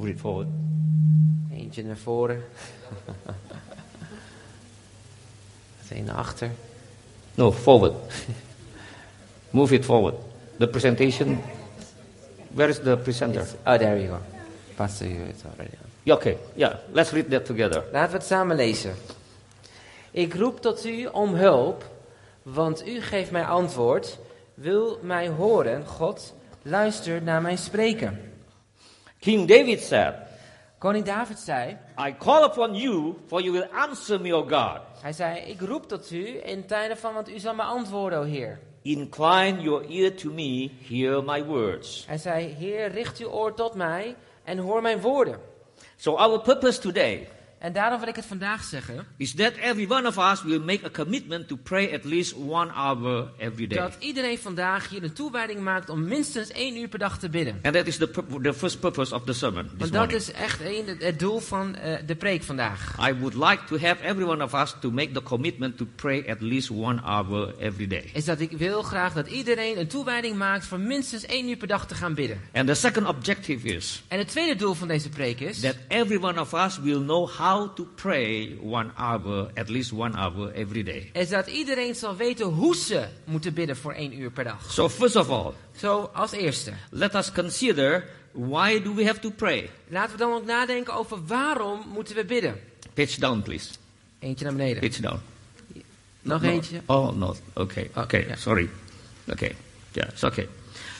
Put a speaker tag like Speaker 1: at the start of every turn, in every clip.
Speaker 1: Put it forward.
Speaker 2: Eentje naar voren. Het een naar achter.
Speaker 1: No, forward. Move it forward. The presentation. Where is the presenter?
Speaker 2: Oh, there you go. Pastor, you it already on.
Speaker 1: Yeah, okay, yeah. Let's read that together.
Speaker 2: Laten we het samen lezen. Ik roep tot u om hulp, want u geeft mij antwoord. Wil mij horen, God, luister naar mijn spreken.
Speaker 1: King David said,
Speaker 2: Koning David zei,
Speaker 1: I call upon you, for you will answer me, O God.
Speaker 2: hij zei, ik roep tot u in tijden van, want u zal mij antwoorden, o Heer.
Speaker 1: Incline your ear to me, hear my words.
Speaker 2: Hij zei, Heer, richt uw oor tot mij en hoor mijn woorden.
Speaker 1: So, our purpose today
Speaker 2: En daarom wil ik het vandaag zeggen,
Speaker 1: is that every one of us will make a commitment to pray at least one hour every day.
Speaker 2: dat iedereen vandaag hier een toewijding maakt om minstens één uur per dag te bidden.
Speaker 1: And that is the, pur- the first purpose of the sermon this
Speaker 2: Want dat
Speaker 1: morning.
Speaker 2: is echt één- het- het doel van eh, de preek vandaag.
Speaker 1: I would like to have every one of us to make the commitment to pray at least one hour every day.
Speaker 2: is dat ik wil graag dat iedereen een toewijding maakt voor minstens één uur per dag te gaan bidden.
Speaker 1: And the second objective is
Speaker 2: En het tweede doel van deze preek is
Speaker 1: that every one of us will know how to pray one hour, at least one hour every day.
Speaker 2: is dat iedereen zal weten hoe ze moeten bidden voor één uur per dag.
Speaker 1: So first of all,
Speaker 2: Zo als eerste.
Speaker 1: let us consider why do we have to pray?
Speaker 2: Laten we dan ook nadenken over waarom moeten we bidden.
Speaker 1: Pitch down, please.
Speaker 2: Eentje naar beneden.
Speaker 1: Pitch down.
Speaker 2: Nog
Speaker 1: No.
Speaker 2: eentje.
Speaker 1: Oh no. Okay.
Speaker 2: Oh,
Speaker 1: Okay.
Speaker 2: yeah.
Speaker 1: Sorry. Okay. Yeah. It's okay.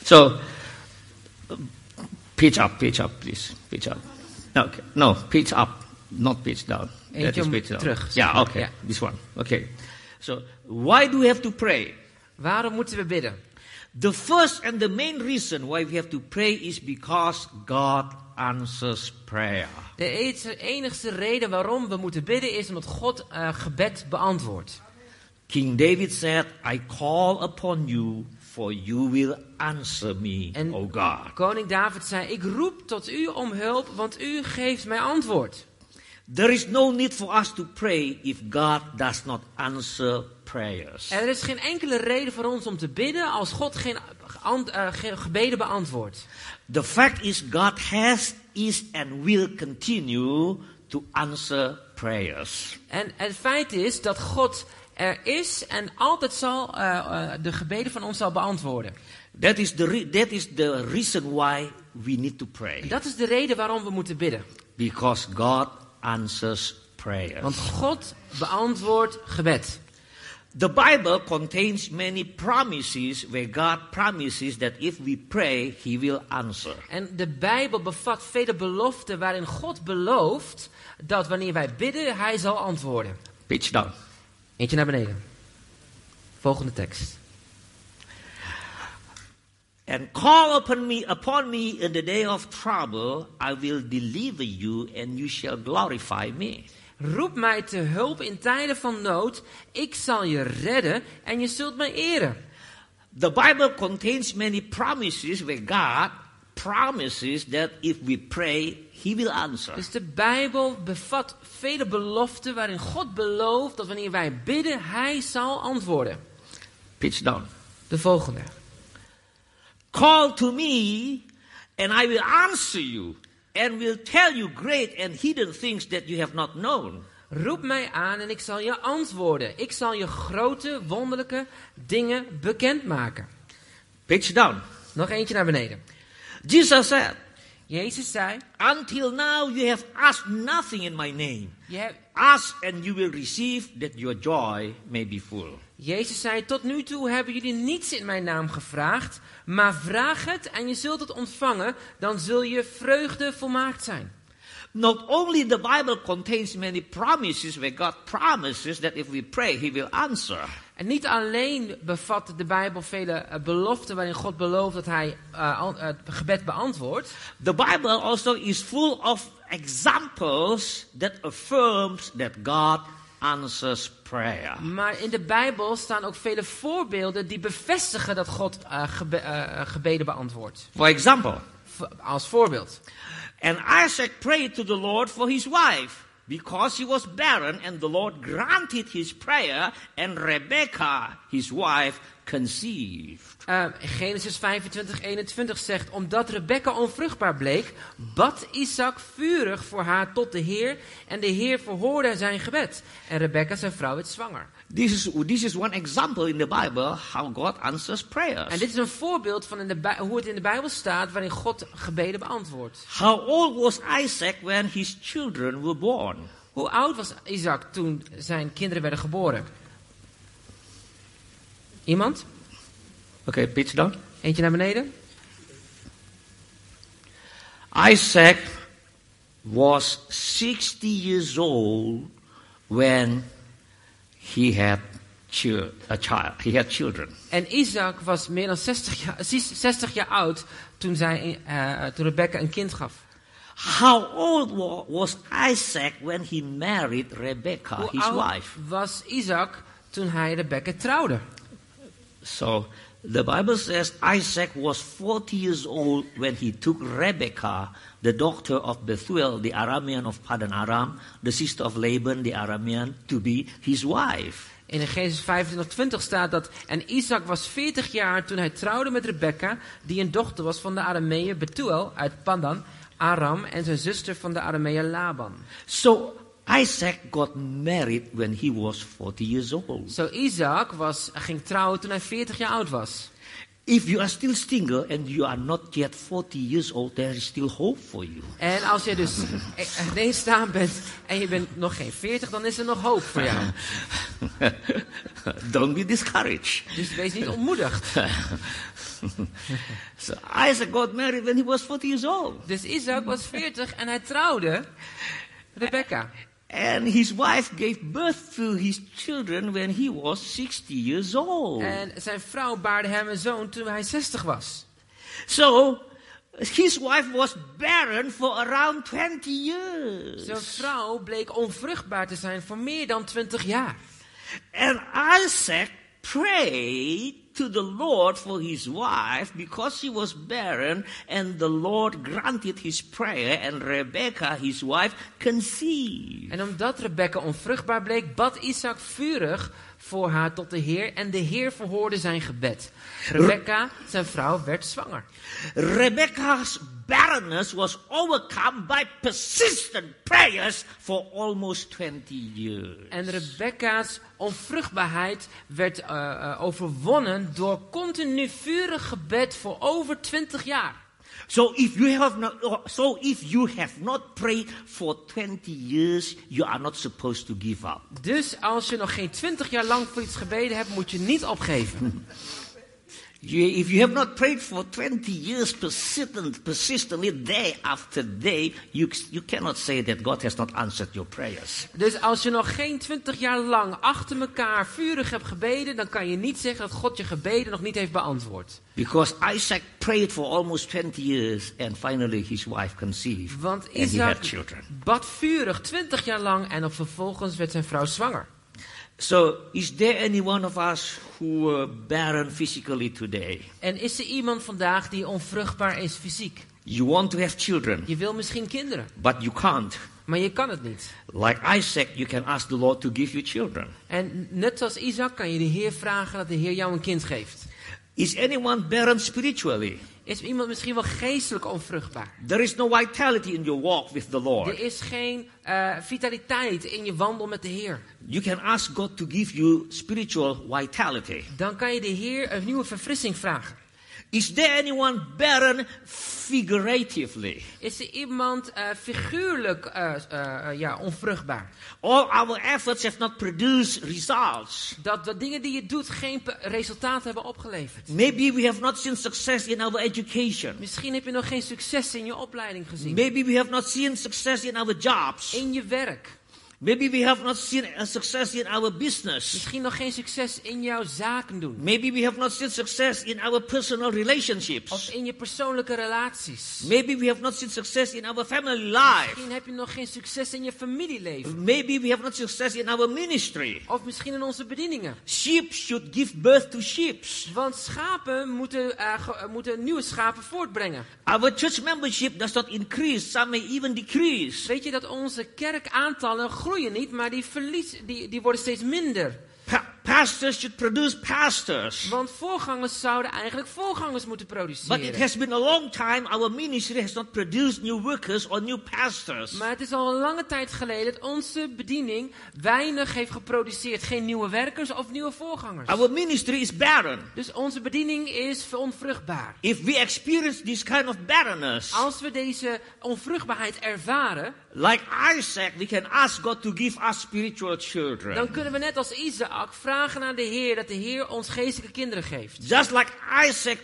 Speaker 1: So, uh, pitch up, pitch up, please, pitch up. No, okay. no, pitch up, not pitch down.
Speaker 2: Eentje
Speaker 1: That is
Speaker 2: om
Speaker 1: pitch down.
Speaker 2: terug, zeg
Speaker 1: Yeah.
Speaker 2: maar,
Speaker 1: Okay.
Speaker 2: ja.
Speaker 1: This one. Okay. So, why do we have to pray?
Speaker 2: Waarom moeten we bidden?
Speaker 1: The first and the main reason why we have to pray is because God answers prayer.
Speaker 2: De e- enigste reden waarom we moeten bidden is omdat God eh, gebed beantwoordt.
Speaker 1: King David said, "I call upon you, for you will answer me,
Speaker 2: En
Speaker 1: O God."
Speaker 2: koning David zei, ik roep tot u om hulp, want u geeft mij antwoord.
Speaker 1: There is no need for us to pray if God does not answer prayers.
Speaker 2: En er is geen enkele reden voor ons om te bidden als God geen, ant- eh, geen gebeden beantwoordt.
Speaker 1: The fact is, God has, is, and will continue to answer prayers.
Speaker 2: En het feit is dat God er is en altijd zal eh, eh, de gebeden van ons zal beantwoorden.
Speaker 1: That is the, re- that is the reason why we need to
Speaker 2: En
Speaker 1: pray.
Speaker 2: dat is de reden waarom we moeten bidden.
Speaker 1: Because God answers prayers.
Speaker 2: Want God beantwoordt gebed.
Speaker 1: The Bible contains many promises where God promises that if we pray, He will answer.
Speaker 2: En de Bijbel bevat vele beloften waarin God belooft dat wanneer wij bidden, Hij zal antwoorden.
Speaker 1: Pitch down.
Speaker 2: Eentje naar beneden. Volgende tekst.
Speaker 1: And call upon me upon me in the day of trouble, I will deliver you, and you shall glorify me.
Speaker 2: Roep mij te hulp in tijden van nood. Ik zal je redden en je zult mij eren.
Speaker 1: The Bible contains many promises where God promises that if we pray, He will answer.
Speaker 2: Dus de Bijbel bevat vele beloften waarin God belooft dat wanneer wij bidden, Hij zal antwoorden.
Speaker 1: Pitch down.
Speaker 2: De volgende.
Speaker 1: Call to me, and I will answer you, and will tell you great and hidden things that you have not known.
Speaker 2: Roep mij aan en ik zal je antwoorden. Ik zal je grote, wonderlijke dingen bekendmaken.
Speaker 1: Pitch down.
Speaker 2: Nog eentje naar beneden.
Speaker 1: Jesus said,
Speaker 2: Jezus zei,
Speaker 1: Until now you have asked nothing in my name.
Speaker 2: je hebt-
Speaker 1: Ask and you will receive that your joy may be full.
Speaker 2: Jezus zei, tot nu toe hebben jullie niets in mijn naam gevraagd, maar vraag het en je zult het ontvangen, dan zul je vreugde volmaakt zijn.
Speaker 1: Not only the Bible contains many promises where God promises that if we pray he will answer.
Speaker 2: En niet alleen bevat de Bijbel vele eh, beloften waarin God belooft dat hij eh, an- eh, gebed beantwoordt.
Speaker 1: The Bible also is full of examples that affirms that God answers prayer.
Speaker 2: Maar in de Bijbel staan ook vele voorbeelden die bevestigen dat God eh, gebe- eh, eh, gebeden beantwoordt.
Speaker 1: For example,
Speaker 2: V- als voorbeeld.
Speaker 1: and Isaac prayed to the Lord for his wife because he was barren and the Lord granted his prayer and Rebekah his wife conceived.
Speaker 2: Eh, Genesis 25, 21 zegt, omdat Rebecca onvruchtbaar bleek, bad Isaac vurig voor haar tot de Heer en de Heer verhoorde zijn gebed. En Rebecca, zijn vrouw, werd zwanger.
Speaker 1: This is, this is one example in the Bible how God answers prayers.
Speaker 2: En dit is een voorbeeld van in de Bij- hoe het in de Bijbel staat waarin God gebeden beantwoordt.
Speaker 1: How old was Isaac when his children were born?
Speaker 2: Hoe oud was Isaac toen zijn kinderen werden geboren? Iemand?
Speaker 1: Okay, pitch down.
Speaker 2: Eentje naar beneden?
Speaker 1: Isaac was 60 years old when he had chil- a child. He had children.
Speaker 2: En Isaac was meer dan 60 jaar, 60 jaar oud toen, zij, eh, toen Rebecca een kind gaf.
Speaker 1: How old wa- was Isaac when he married Rebekah,
Speaker 2: Hoe
Speaker 1: his
Speaker 2: oud
Speaker 1: wife?
Speaker 2: was Isaac toen hij Rebecca trouwde?
Speaker 1: So the Bible says Isaac was 40 years old when he took Rebekah, the daughter of Bethuel, the Aramean of Padan Aram, the sister of Laban, the Aramean, to be his wife.
Speaker 2: In Genesis 25, 20 staat dat... En Isaac was 40 jaar toen hij trouwde met Rebecca... die een dochter was van de Arameeën Betuel uit Pandan, Aram... en zijn zuster van de Arameeën Laban.
Speaker 1: So Isaac got married when he was 40 years old.
Speaker 2: Zo Isaac was, ging trouwen toen hij 40 jaar oud was.
Speaker 1: If you are still single and you are not yet 40 years old, there is still hope for you.
Speaker 2: En als jij dus e- ineens staan bent en je bent nog geen 40... dan is er nog hoop voor jou.
Speaker 1: Don't be discouraged.
Speaker 2: Dus wees niet ontmoedigd.
Speaker 1: So Isaac got married when he was 40 years old.
Speaker 2: Dus Isaac was 40 en hij trouwde Rebecca.
Speaker 1: And his wife gave birth to his children when he was 60 years old.
Speaker 2: En zijn vrouw baarde hem een zoon toen hij 60 was.
Speaker 1: so his wife was barren for around 20 years.
Speaker 2: Zijn vrouw bleek onvruchtbaar te zijn voor meer dan 20 jaar.
Speaker 1: And Isaac prayed to the Lord for his wife because she was barren, and the Lord granted his prayer, and Rebekah, his wife, conceived.
Speaker 2: En omdat Rebecca onvruchtbaar bleek, bad Isaac vurig voor haar tot de Heer. En de Heer verhoorde zijn gebed. Rebecca, zijn vrouw, werd zwanger.
Speaker 1: Rebekah's barrenness was overcome by persistent prayers for almost 20 years.
Speaker 2: En Rebecca's onvruchtbaarheid werd eh, eh, overwonnen door continu vurig gebed voor over 20 jaar.
Speaker 1: So if you have not, so if you have not prayed for 20 years, you are not supposed to give up.
Speaker 2: Dus als je nog geen 20 jaar lang voor iets gebeden hebt, moet je niet opgeven.
Speaker 1: You, if you have not prayed for 20 years persistent, persistently, day after day, you, you cannot say that God has not answered your prayers.
Speaker 2: Dus als je nog geen 20 jaar lang achter elkaar vurig hebt gebeden, dan kan je niet zeggen dat God je gebeden nog niet heeft beantwoord.
Speaker 1: Because Isaac prayed for almost 20 years and finally his wife conceived.
Speaker 2: Want
Speaker 1: and he had
Speaker 2: Isaac
Speaker 1: children.
Speaker 2: bad vurig 20 jaar lang en dan vervolgens werd zijn vrouw zwanger.
Speaker 1: So, is there any one of us who are barren physically today?
Speaker 2: En is er iemand vandaag die onvruchtbaar is fysiek?
Speaker 1: You want to have children,
Speaker 2: Je wil misschien kinderen,
Speaker 1: but you can't.
Speaker 2: maar je kan het niet.
Speaker 1: Like Isaac, you can ask the Lord to give you children.
Speaker 2: En net zoals Isaac kan je de Heer vragen dat de Heer jou een kind geeft.
Speaker 1: Is anyone barren spiritually?
Speaker 2: Is iemand misschien wel geestelijk onvruchtbaar?
Speaker 1: There is no vitality in your walk with the Lord.
Speaker 2: Er is geen eh, vitaliteit in je wandel met de Heer.
Speaker 1: You can ask God to give you spiritual vitality.
Speaker 2: Dan kan je de Heer een nieuwe verfrissing vragen.
Speaker 1: Is there anyone barren figuratively?
Speaker 2: Is er iemand eh, figuurlijk eh, eh, eh, ja, onvruchtbaar?
Speaker 1: All our efforts have not produced results.
Speaker 2: Dat de dingen die je doet geen pe- resultaat hebben opgeleverd.
Speaker 1: Maybe we have not seen success in our education.
Speaker 2: Misschien heb je nog geen succes in je opleiding gezien.
Speaker 1: Maybe we have not seen success in our jobs.
Speaker 2: In je werk.
Speaker 1: Maybe we have not seen a success in our business.
Speaker 2: Misschien nog geen succes in jouw zaken doen.
Speaker 1: Maybe we have not seen success in our personal
Speaker 2: Of
Speaker 1: relationships.
Speaker 2: in je persoonlijke relaties.
Speaker 1: Maybe we have not seen success in our family life.
Speaker 2: Misschien heb je nog geen succes in je familieleven.
Speaker 1: Maybe we have not success in our ministry.
Speaker 2: Of misschien in onze bedieningen.
Speaker 1: Sheep should give birth to sheep.
Speaker 2: Want schapen moeten, eh, ge- eh, moeten nieuwe schapen voortbrengen.
Speaker 1: Our church membership does not increase, some may even decrease.
Speaker 2: Weet je dat onze kerkaantallen groeien niet, maar die, verlies, die, die worden steeds minder.
Speaker 1: Pa- pastors should produce pastors.
Speaker 2: Want voorgangers zouden eigenlijk voorgangers moeten
Speaker 1: But it
Speaker 2: produceren.
Speaker 1: has been a long time our ministry has not produced new workers or new pastors.
Speaker 2: Maar het is al een lange tijd geleden dat onze bediening weinig heeft geproduceerd. Geen nieuwe werkers of nieuwe voorgangers.
Speaker 1: Our ministry is barren.
Speaker 2: Dus onze bediening is onvruchtbaar.
Speaker 1: If we experience this kind of barrenness,
Speaker 2: Als we deze onvruchtbaarheid ervaren,
Speaker 1: like Isaac, we can ask God to give us spiritual
Speaker 2: dan
Speaker 1: children.
Speaker 2: kunnen we net als Isaac vragen aan de Heer dat de Heer ons geestelijke kinderen geeft.
Speaker 1: Just like Isaac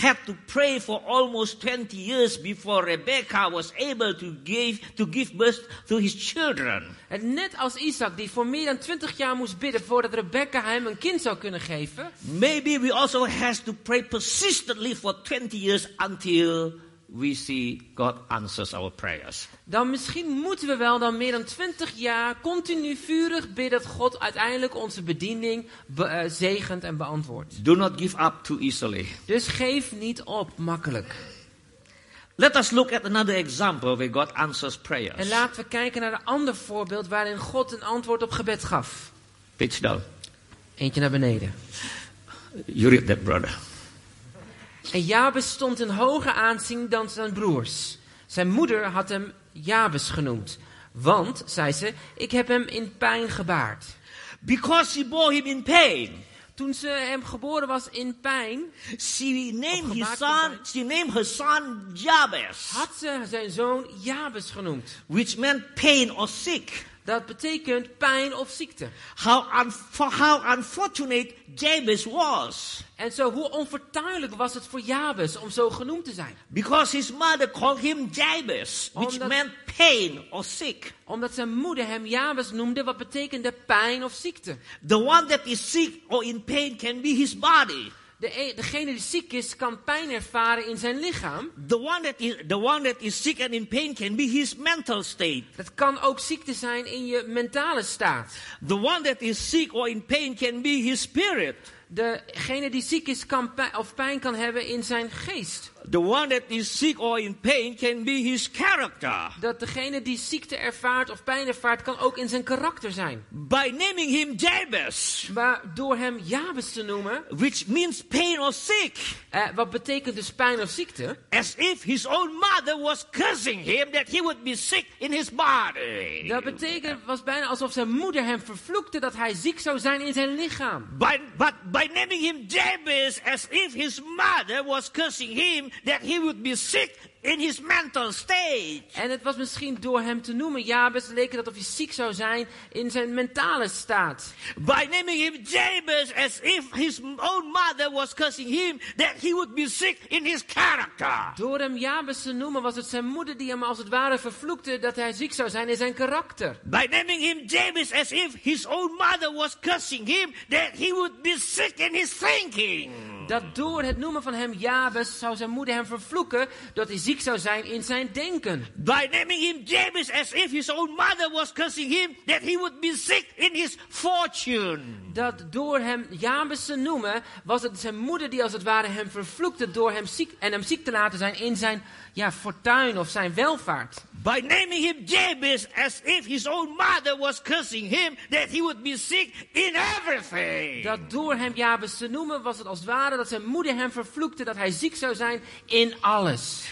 Speaker 1: had to pray for almost 20 years before Rebekah was able to give, to give birth to his children.
Speaker 2: En net als Isaac, die voor meer dan 20 jaar moest bidden voordat Rebecca hem een kind zou kunnen geven,
Speaker 1: Maybe we also has to pray persistently for 20 years until we see God answers our prayers.
Speaker 2: dan misschien moeten we wel dan meer dan 20 jaar continu vurig bidden dat God uiteindelijk onze bediening be- eh, zegent en beantwoordt.
Speaker 1: Do not give up too easily.
Speaker 2: Dus geef niet op, makkelijk.
Speaker 1: Let us look at another example where God answers
Speaker 2: En
Speaker 1: prayers.
Speaker 2: laten we kijken naar een ander voorbeeld waarin God een antwoord op gebed gaf.
Speaker 1: Pitch down.
Speaker 2: Eentje naar beneden.
Speaker 1: You read that, brother.
Speaker 2: En Jabes stond in hoger aanzien dan zijn broers. Zijn moeder had hem Jabes genoemd. Want, zei ze, ik heb hem in pijn gebaard.
Speaker 1: Because she bore him in pain,
Speaker 2: Toen ze hem geboren was in pijn,
Speaker 1: she named his
Speaker 2: Opgemaakt
Speaker 1: son.
Speaker 2: worden.
Speaker 1: She named her son Jabez,
Speaker 2: had ze zijn zoon Jabes genoemd.
Speaker 1: which meant pain or sick.
Speaker 2: Dat betekent pijn of ziekte.
Speaker 1: How, unf- how unfortunate Jabez was,
Speaker 2: En zo, hoe onvertuinlijk was het voor Jabes om zo genoemd te zijn?
Speaker 1: because his mother called him Jabez, which
Speaker 2: Omdat-
Speaker 1: meant pain or sick.
Speaker 2: Omdat zijn moeder hem Jabes noemde, wat betekende pijn of ziekte.
Speaker 1: The one that is sick or in pain can be his body.
Speaker 2: De, e- degene die ziek is, kan pijn ervaren in zijn lichaam.
Speaker 1: The one that is the one that is sick and in pain can be his mental state.
Speaker 2: Dat kan ook ziekte zijn in je mentale staat.
Speaker 1: The one that is sick or in pain can be his spirit.
Speaker 2: Degene die ziek is kan pijn, of pijn kan hebben in zijn geest.
Speaker 1: The one that is sick or in pain can be his character.
Speaker 2: Dat degene die ziekte ervaart of pijn ervaart kan ook in zijn karakter zijn.
Speaker 1: By naming him Jabez,
Speaker 2: Maar door hem Jabes te noemen,
Speaker 1: which means pain or sick,
Speaker 2: eh, wat betekent dus pijn of ziekte?
Speaker 1: as if his own mother was cursing him that he would be sick in his body.
Speaker 2: Dat betekent, was bijna alsof zijn moeder hem vervloekte dat hij ziek zou zijn in zijn lichaam.
Speaker 1: By, but by naming him Jabez, as if his mother was cursing him that he would be sick in his mental state.
Speaker 2: En het was misschien door hem te noemen Jabes, leek het alsof hij ziek zou zijn in zijn mentale staat.
Speaker 1: By naming him Jabez, as if his own mother was cursing him that he would be sick in his character.
Speaker 2: Door hem Jabes te noemen was het zijn moeder die hem als het ware vervloekte dat hij ziek zou zijn in zijn karakter.
Speaker 1: By naming him Jabez, as if his own mother was cursing him that he would be sick in his thinking.
Speaker 2: Dat door het noemen van hem Jabes zou zijn moeder hem vervloeken dat hij ziek zou zijn in zijn denken.
Speaker 1: By naming him Jabez, as if his own mother was cursing him that he would be sick in his fortune.
Speaker 2: Dat door hem Jabes te noemen was het zijn moeder die als het ware hem vervloekte door hem ziek en hem ziek te laten zijn in zijn ja, fortuin of zijn welvaart.
Speaker 1: By naming him Jabez, as if his own mother was cursing him that he would be sick in everything.
Speaker 2: Dat door hem Jabes te noemen was het als het ware dat zijn moeder hem vervloekte dat hij ziek zou zijn in alles.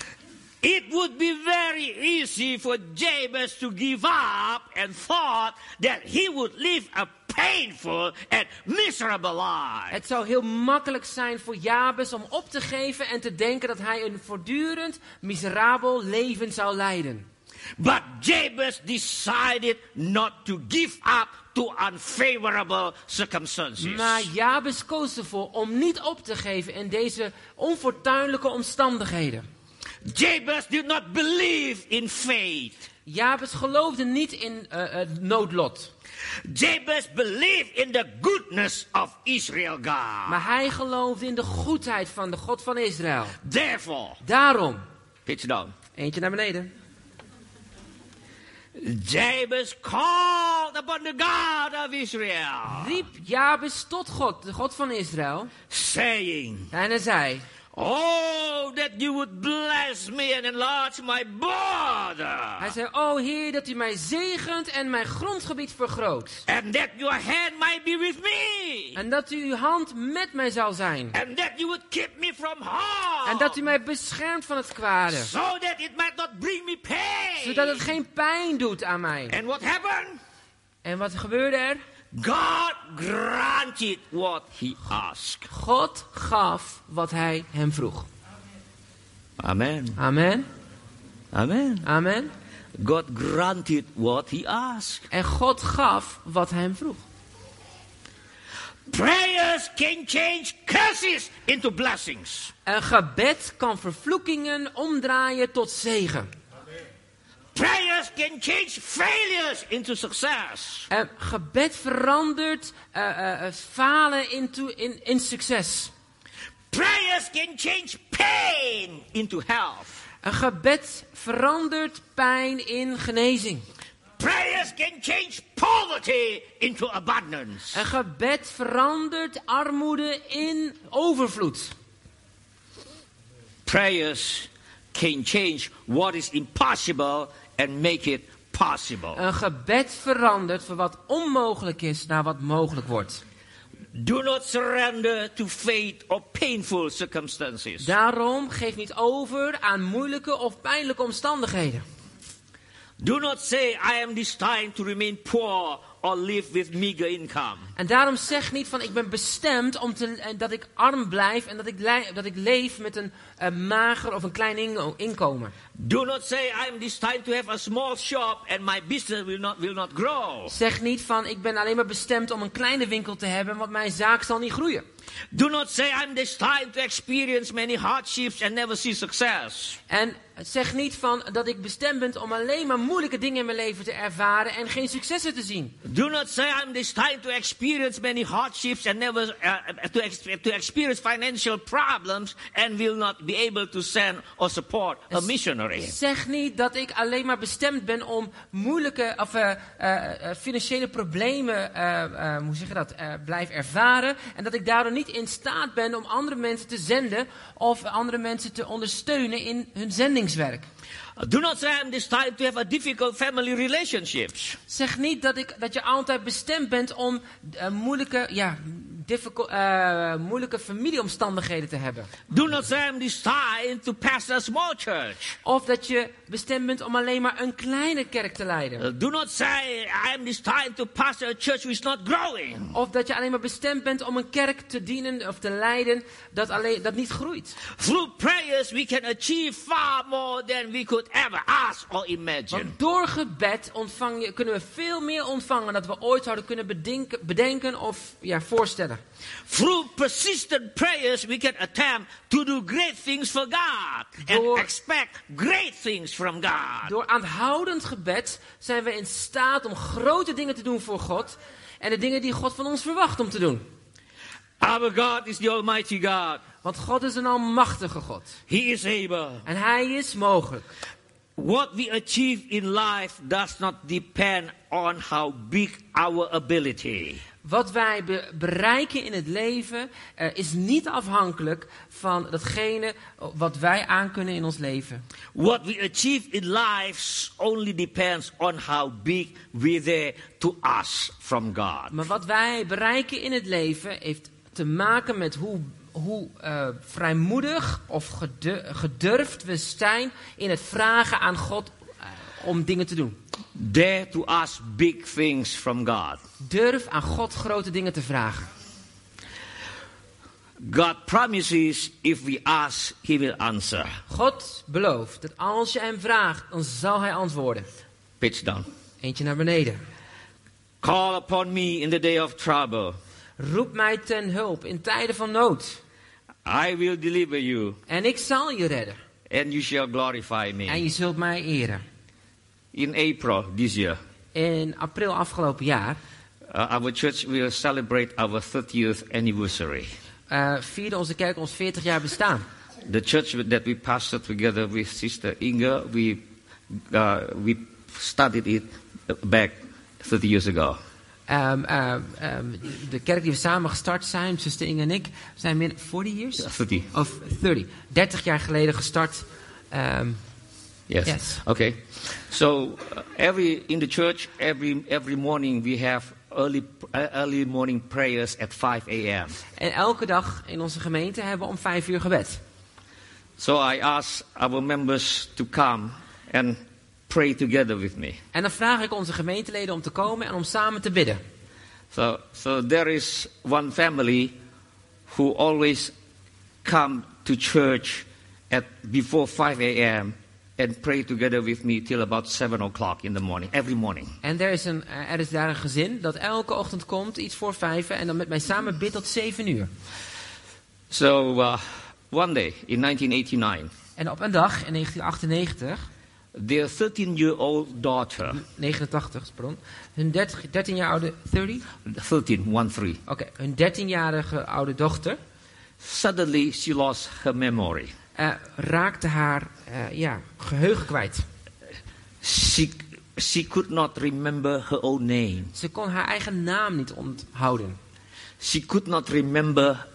Speaker 1: It would be very easy for Jabez to give up and thought that he would live a painful and miserable life.
Speaker 2: Het zou heel makkelijk zijn voor Jabes om op te geven en te denken dat hij een voortdurend miserabel leven zou leiden.
Speaker 1: But Jabez decided not to give up to unfavorable circumstances.
Speaker 2: Maar Jabes koos ervoor om niet op te geven in deze onfortuinlijke omstandigheden.
Speaker 1: Jabez did not believe in fate.
Speaker 2: Jabes geloofde niet in eh, het noodlot,
Speaker 1: Jabez believed in the goodness of Israel God.
Speaker 2: maar hij geloofde in de goedheid van de God van Israël.
Speaker 1: Therefore,
Speaker 2: Daarom,
Speaker 1: pitch down.
Speaker 2: eentje naar beneden,
Speaker 1: Jabez called upon the God of Israel.
Speaker 2: riep Jabes tot God, de God van Israël,
Speaker 1: saying,
Speaker 2: en hij zei:
Speaker 1: Oh, that you would bless me and enlarge my border.
Speaker 2: Hij zei, o Heer, dat u mij zegent en mijn grondgebied vergroot.
Speaker 1: And that your hand might be with me.
Speaker 2: En dat u uw hand met mij zal zijn.
Speaker 1: And that you would keep me from harm.
Speaker 2: En dat u mij beschermt van het kwade.
Speaker 1: So that it might not bring me pain.
Speaker 2: Zodat het geen pijn doet aan mij.
Speaker 1: And what happened?
Speaker 2: En wat gebeurde er?
Speaker 1: God granted what he asked.
Speaker 2: God gaf wat hij hem vroeg.
Speaker 1: Amen.
Speaker 2: Amen.
Speaker 1: Amen.
Speaker 2: Amen.
Speaker 1: God granted what he asked.
Speaker 2: En God gaf wat hij hem vroeg.
Speaker 1: Prayers can change curses into blessings.
Speaker 2: Een gebed kan vervloekingen omdraaien tot zegen.
Speaker 1: Prayers can change failures into success.
Speaker 2: Eh, gebed verandert eh, eh, eh, falen into, in, in succes.
Speaker 1: Prayers can change pain into health.
Speaker 2: Een gebed verandert pijn in genezing.
Speaker 1: Prayers can change poverty into abundance.
Speaker 2: Een gebed verandert armoede in overvloed.
Speaker 1: Prayers can change what is impossible and make it possible.
Speaker 2: Een gebed verandert van wat onmogelijk is naar wat mogelijk wordt.
Speaker 1: Do not surrender to fate or painful circumstances.
Speaker 2: Daarom geef niet over aan moeilijke of pijnlijke omstandigheden.
Speaker 1: Do not say, I am destined to remain poor or live with meager income.
Speaker 2: En daarom zeg niet van ik ben bestemd om te, eh, dat ik arm blijf en dat ik, lei- dat ik leef met een eh, mager of een klein ingo- inkomen.
Speaker 1: Do not say, I am destined to have a small shop and my business will not, will not grow.
Speaker 2: Zeg niet van ik ben alleen maar bestemd om een kleine winkel te hebben, want mijn zaak zal niet groeien.
Speaker 1: Do not say, I am destined to experience many hardships and never see success.
Speaker 2: En zeg niet van dat ik bestemd ben om alleen maar moeilijke dingen in mijn leven te ervaren en geen successen te zien.
Speaker 1: Do not say, I am destined to experience many hardships and never uh, to, ex- to experience financial problems and will not be able to send or support a missionary.
Speaker 2: Zeg niet dat ik alleen maar bestemd ben om moeilijke of eh, eh, eh, financiële problemen, eh, eh, hoe zeg je dat, eh, blijf ervaren. En dat ik daardoor niet in staat ben om andere mensen te zenden of andere mensen te ondersteunen in hun zendingswerk.
Speaker 1: Do not say, I am destined to have a difficult family relationships.
Speaker 2: Zeg niet dat, ik, dat je altijd bestemd bent om eh, moeilijke, ja, difficult, eh, moeilijke familieomstandigheden te hebben.
Speaker 1: Do not say I'm destined to pastor a small church.
Speaker 2: Of dat je bestemd bent om alleen maar een kleine kerk te leiden.
Speaker 1: Uh, do not say I'm destined to pastor a church which is not growing.
Speaker 2: Of dat je alleen maar bestemd bent om een kerk te dienen of te leiden dat, alleen, dat niet groeit.
Speaker 1: Through prayers, we can achieve far more than we could ever ask or imagine.
Speaker 2: Want door gebed ontvang je, kunnen we veel meer ontvangen dan we ooit zouden kunnen bedenken, bedenken of ja, voorstellen.
Speaker 1: Through persistent prayers, we can attempt to do great things for God and
Speaker 2: Door-
Speaker 1: expect great things from God.
Speaker 2: Door aanhoudend gebed zijn we in staat om grote dingen te doen voor God. En de dingen die God van ons verwacht om te doen.
Speaker 1: Our God is the Almighty God.
Speaker 2: Want God is een almachtige God.
Speaker 1: He is able.
Speaker 2: En Hij is mogelijk.
Speaker 1: What we achieve in life does not depend on how big our ability.
Speaker 2: Wat wij be- bereiken in het leven eh, is niet afhankelijk van datgene eh, wat wij aankunnen in ons leven.
Speaker 1: What we achieve in life only depends on how big we there to us from God.
Speaker 2: Maar wat wij bereiken in het leven heeft te maken met hoe, hoe eh, vrijmoedig of gedu- gedurfd we zijn in het vragen aan God eh, om dingen te doen.
Speaker 1: Dare to ask big things from God.
Speaker 2: Durf aan God grote dingen te vragen.
Speaker 1: God promises if we ask, He will answer.
Speaker 2: God belooft dat als je hem vraagt, dan zal hij antwoorden.
Speaker 1: Pitch down.
Speaker 2: Eentje naar beneden.
Speaker 1: Call upon me in the day of trouble.
Speaker 2: Roep mij ten hulp in tijden van nood.
Speaker 1: I will deliver you,
Speaker 2: En ik zal je redden.
Speaker 1: and you shall glorify
Speaker 2: En
Speaker 1: me.
Speaker 2: je zult mij eren.
Speaker 1: In April this year,
Speaker 2: In april afgelopen jaar
Speaker 1: uh, our church will celebrate our 30th anniversary.
Speaker 2: eh, vierde onze kerk ons 40 jaar bestaan.
Speaker 1: The church that we pastored together with Sister Inga, we, uh, we started it back 30 years ago.
Speaker 2: Eh, ehm, ehm, ehm, de kerk die we samen gestart zijn, zuster Inge en ik, zijn meer 40 years?
Speaker 1: Yeah, 30.
Speaker 2: Of 30. 30 jaar geleden gestart. Ehm,
Speaker 1: Yes.
Speaker 2: Yes.
Speaker 1: Okay. So uh, every in the church every every morning we have early uh, early morning prayers at 5 a.m.
Speaker 2: en elke dag in onze gemeente hebben we om vijf uur gebed.
Speaker 1: So I ask our members to come and pray together with me.
Speaker 2: En dan vraag ik onze gemeenteleden om te komen en om samen te bidden.
Speaker 1: So so there is one family who always come to church at before 5 a.m. and pray together with me till about 7 o'clock in the morning every morning.
Speaker 2: En er is, een, eh, er is daar een gezin dat elke ochtend komt, iets voor vijven, en dan met mij samen bidt tot zeven uur.
Speaker 1: So uh, one day in 1989.
Speaker 2: En op een dag in 1998,
Speaker 1: Their 13 year old daughter,
Speaker 2: 89, pardon, hun 30, 13 jaar oude, 30?
Speaker 1: 13, 1 3,
Speaker 2: Oké, hun 13-jarige oude dochter
Speaker 1: suddenly she lost her memory.
Speaker 2: eh, raakte haar eh, ja, geheugen kwijt.
Speaker 1: She, she could not remember her own name.
Speaker 2: Ze kon haar eigen naam niet onthouden.
Speaker 1: She could not remember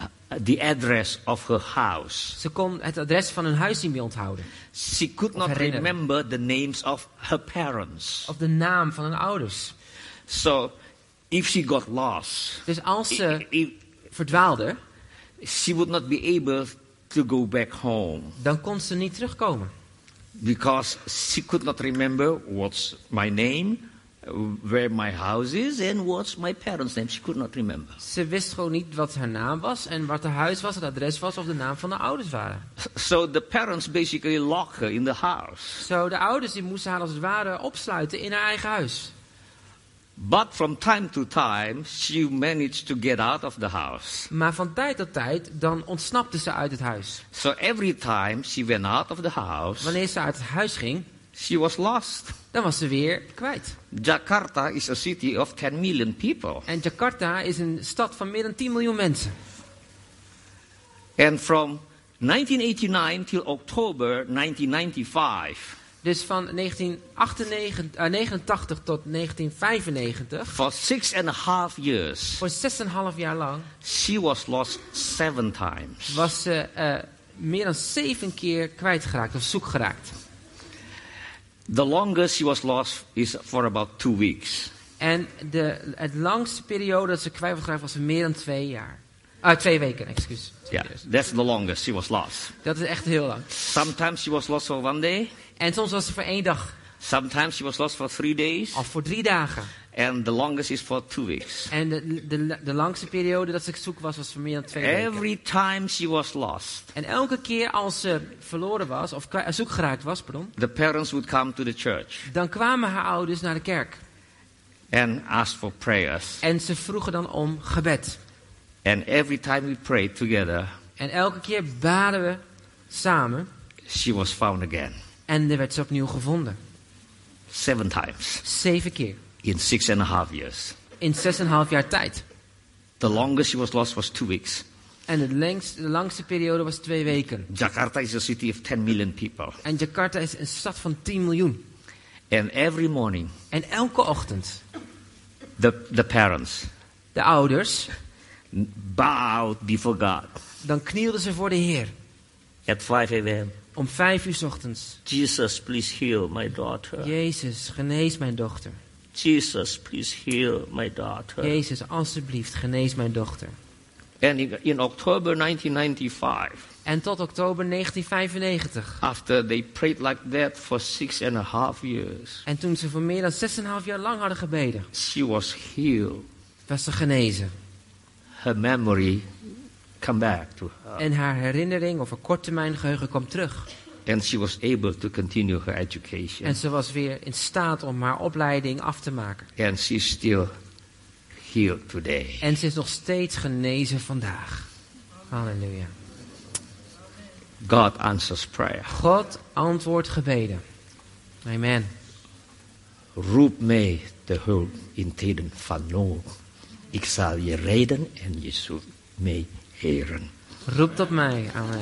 Speaker 1: uh, the address of her house.
Speaker 2: Ze kon het adres van hun huis niet meer onthouden.
Speaker 1: She could not
Speaker 2: herinneren.
Speaker 1: remember the names of her parents.
Speaker 2: Of de naam van hun ouders.
Speaker 1: So, if she got lost,
Speaker 2: Dus als
Speaker 1: i-
Speaker 2: ze
Speaker 1: i-
Speaker 2: verdwaalde,
Speaker 1: she would not be able to go back home
Speaker 2: dan kon ze niet terugkomen.
Speaker 1: because she could not remember what's my name, uh, where my house is, and what's my parents' name. She could not remember.
Speaker 2: Ze wist gewoon niet wat haar naam was en wat haar huis was, het adres was of de naam van de ouders waren.
Speaker 1: So the parents basically lock her in the house.
Speaker 2: Zo, de ouders die moesten haar als het ware opsluiten in haar eigen huis.
Speaker 1: But from time to time, she managed to get out of the house.
Speaker 2: Maar van tijd tot tijd, dan ontsnapte ze uit het huis.
Speaker 1: So every time she went out of the house,
Speaker 2: Wanneer ze uit het huis ging,
Speaker 1: she was lost.
Speaker 2: dan was ze weer kwijt.
Speaker 1: Jakarta is a city of 10 million people.
Speaker 2: En Jakarta is een stad van meer dan 10 miljoen mensen.
Speaker 1: And from 1989 till October 1995,
Speaker 2: Dus van 1989 eh, 89 tot 1995,
Speaker 1: for six and a half years,
Speaker 2: voor 6,5 jaar lang,
Speaker 1: she was lost seven times.
Speaker 2: was ze eh, meer dan 7 keer kwijtgeraakt of zoekgeraakt.
Speaker 1: The longest she was lost is for about two weeks.
Speaker 2: En de, het langste periode dat ze kwijt was geraakt was meer dan twee jaar. Ah, twee weken, excuus.
Speaker 1: Yeah, that's the longest she was lost.
Speaker 2: Dat is echt heel lang.
Speaker 1: Sometimes she was lost for one day,
Speaker 2: En soms was ze voor één dag,
Speaker 1: sometimes she was lost for three days,
Speaker 2: of voor drie dagen.
Speaker 1: and the longest is for two weeks.
Speaker 2: En de, de, de langste periode dat ze zoek was, was voor meer dan twee weken.
Speaker 1: Every time she was lost,
Speaker 2: En elke keer als ze verloren was, of kwa- zoekgeraakt was, pardon,
Speaker 1: the parents would come to the church
Speaker 2: dan kwamen haar ouders naar de kerk.
Speaker 1: and ask for prayers.
Speaker 2: En ze vroegen dan om gebed.
Speaker 1: And every time we prayed together,
Speaker 2: En elke keer baden we samen
Speaker 1: she was found again.
Speaker 2: en er werd ze opnieuw gevonden.
Speaker 1: Seven times
Speaker 2: Zeven keer.
Speaker 1: in six and a half years.
Speaker 2: In zes en een half jaar tijd.
Speaker 1: The longest she was lost was two weeks.
Speaker 2: En de, lengst, de langste periode was twee weken.
Speaker 1: Jakarta is a city of 10 million people.
Speaker 2: En Jakarta is een stad van 10 miljoen.
Speaker 1: And every morning,
Speaker 2: En elke ochtend,
Speaker 1: the, the parents
Speaker 2: de ouders,
Speaker 1: bowed before God.
Speaker 2: dan knielden ze voor de Heer.
Speaker 1: At 5 a.m.,
Speaker 2: Om vijf uur 's ochtends.
Speaker 1: Jesus, please heal my daughter.
Speaker 2: Jezus, genees mijn dochter.
Speaker 1: Jesus, please heal my daughter.
Speaker 2: Jezus, alstublieft, genees mijn dochter.
Speaker 1: And in, in October 1995,
Speaker 2: En tot oktober 1995.
Speaker 1: after they prayed like that for six and a half years,
Speaker 2: En toen ze voor meer dan 6,5 jaar lang hadden gebeden,
Speaker 1: she was healed.
Speaker 2: was ze genezen.
Speaker 1: Her memory come back to her.
Speaker 2: En haar herinnering of haar korttermijn geheugen kwam terug.
Speaker 1: And she was able to continue her education.
Speaker 2: En ze was weer in staat om haar opleiding af te maken.
Speaker 1: and she's still healed today.
Speaker 2: En ze is nog steeds genezen vandaag. Halleluja.
Speaker 1: God answers prayer.
Speaker 2: God antwoordt gebeden. Amen.
Speaker 1: Roep mij de hulp in tijden van nood. Ik zal je redden en je zult mij heren.
Speaker 2: Roept op mij. Amen.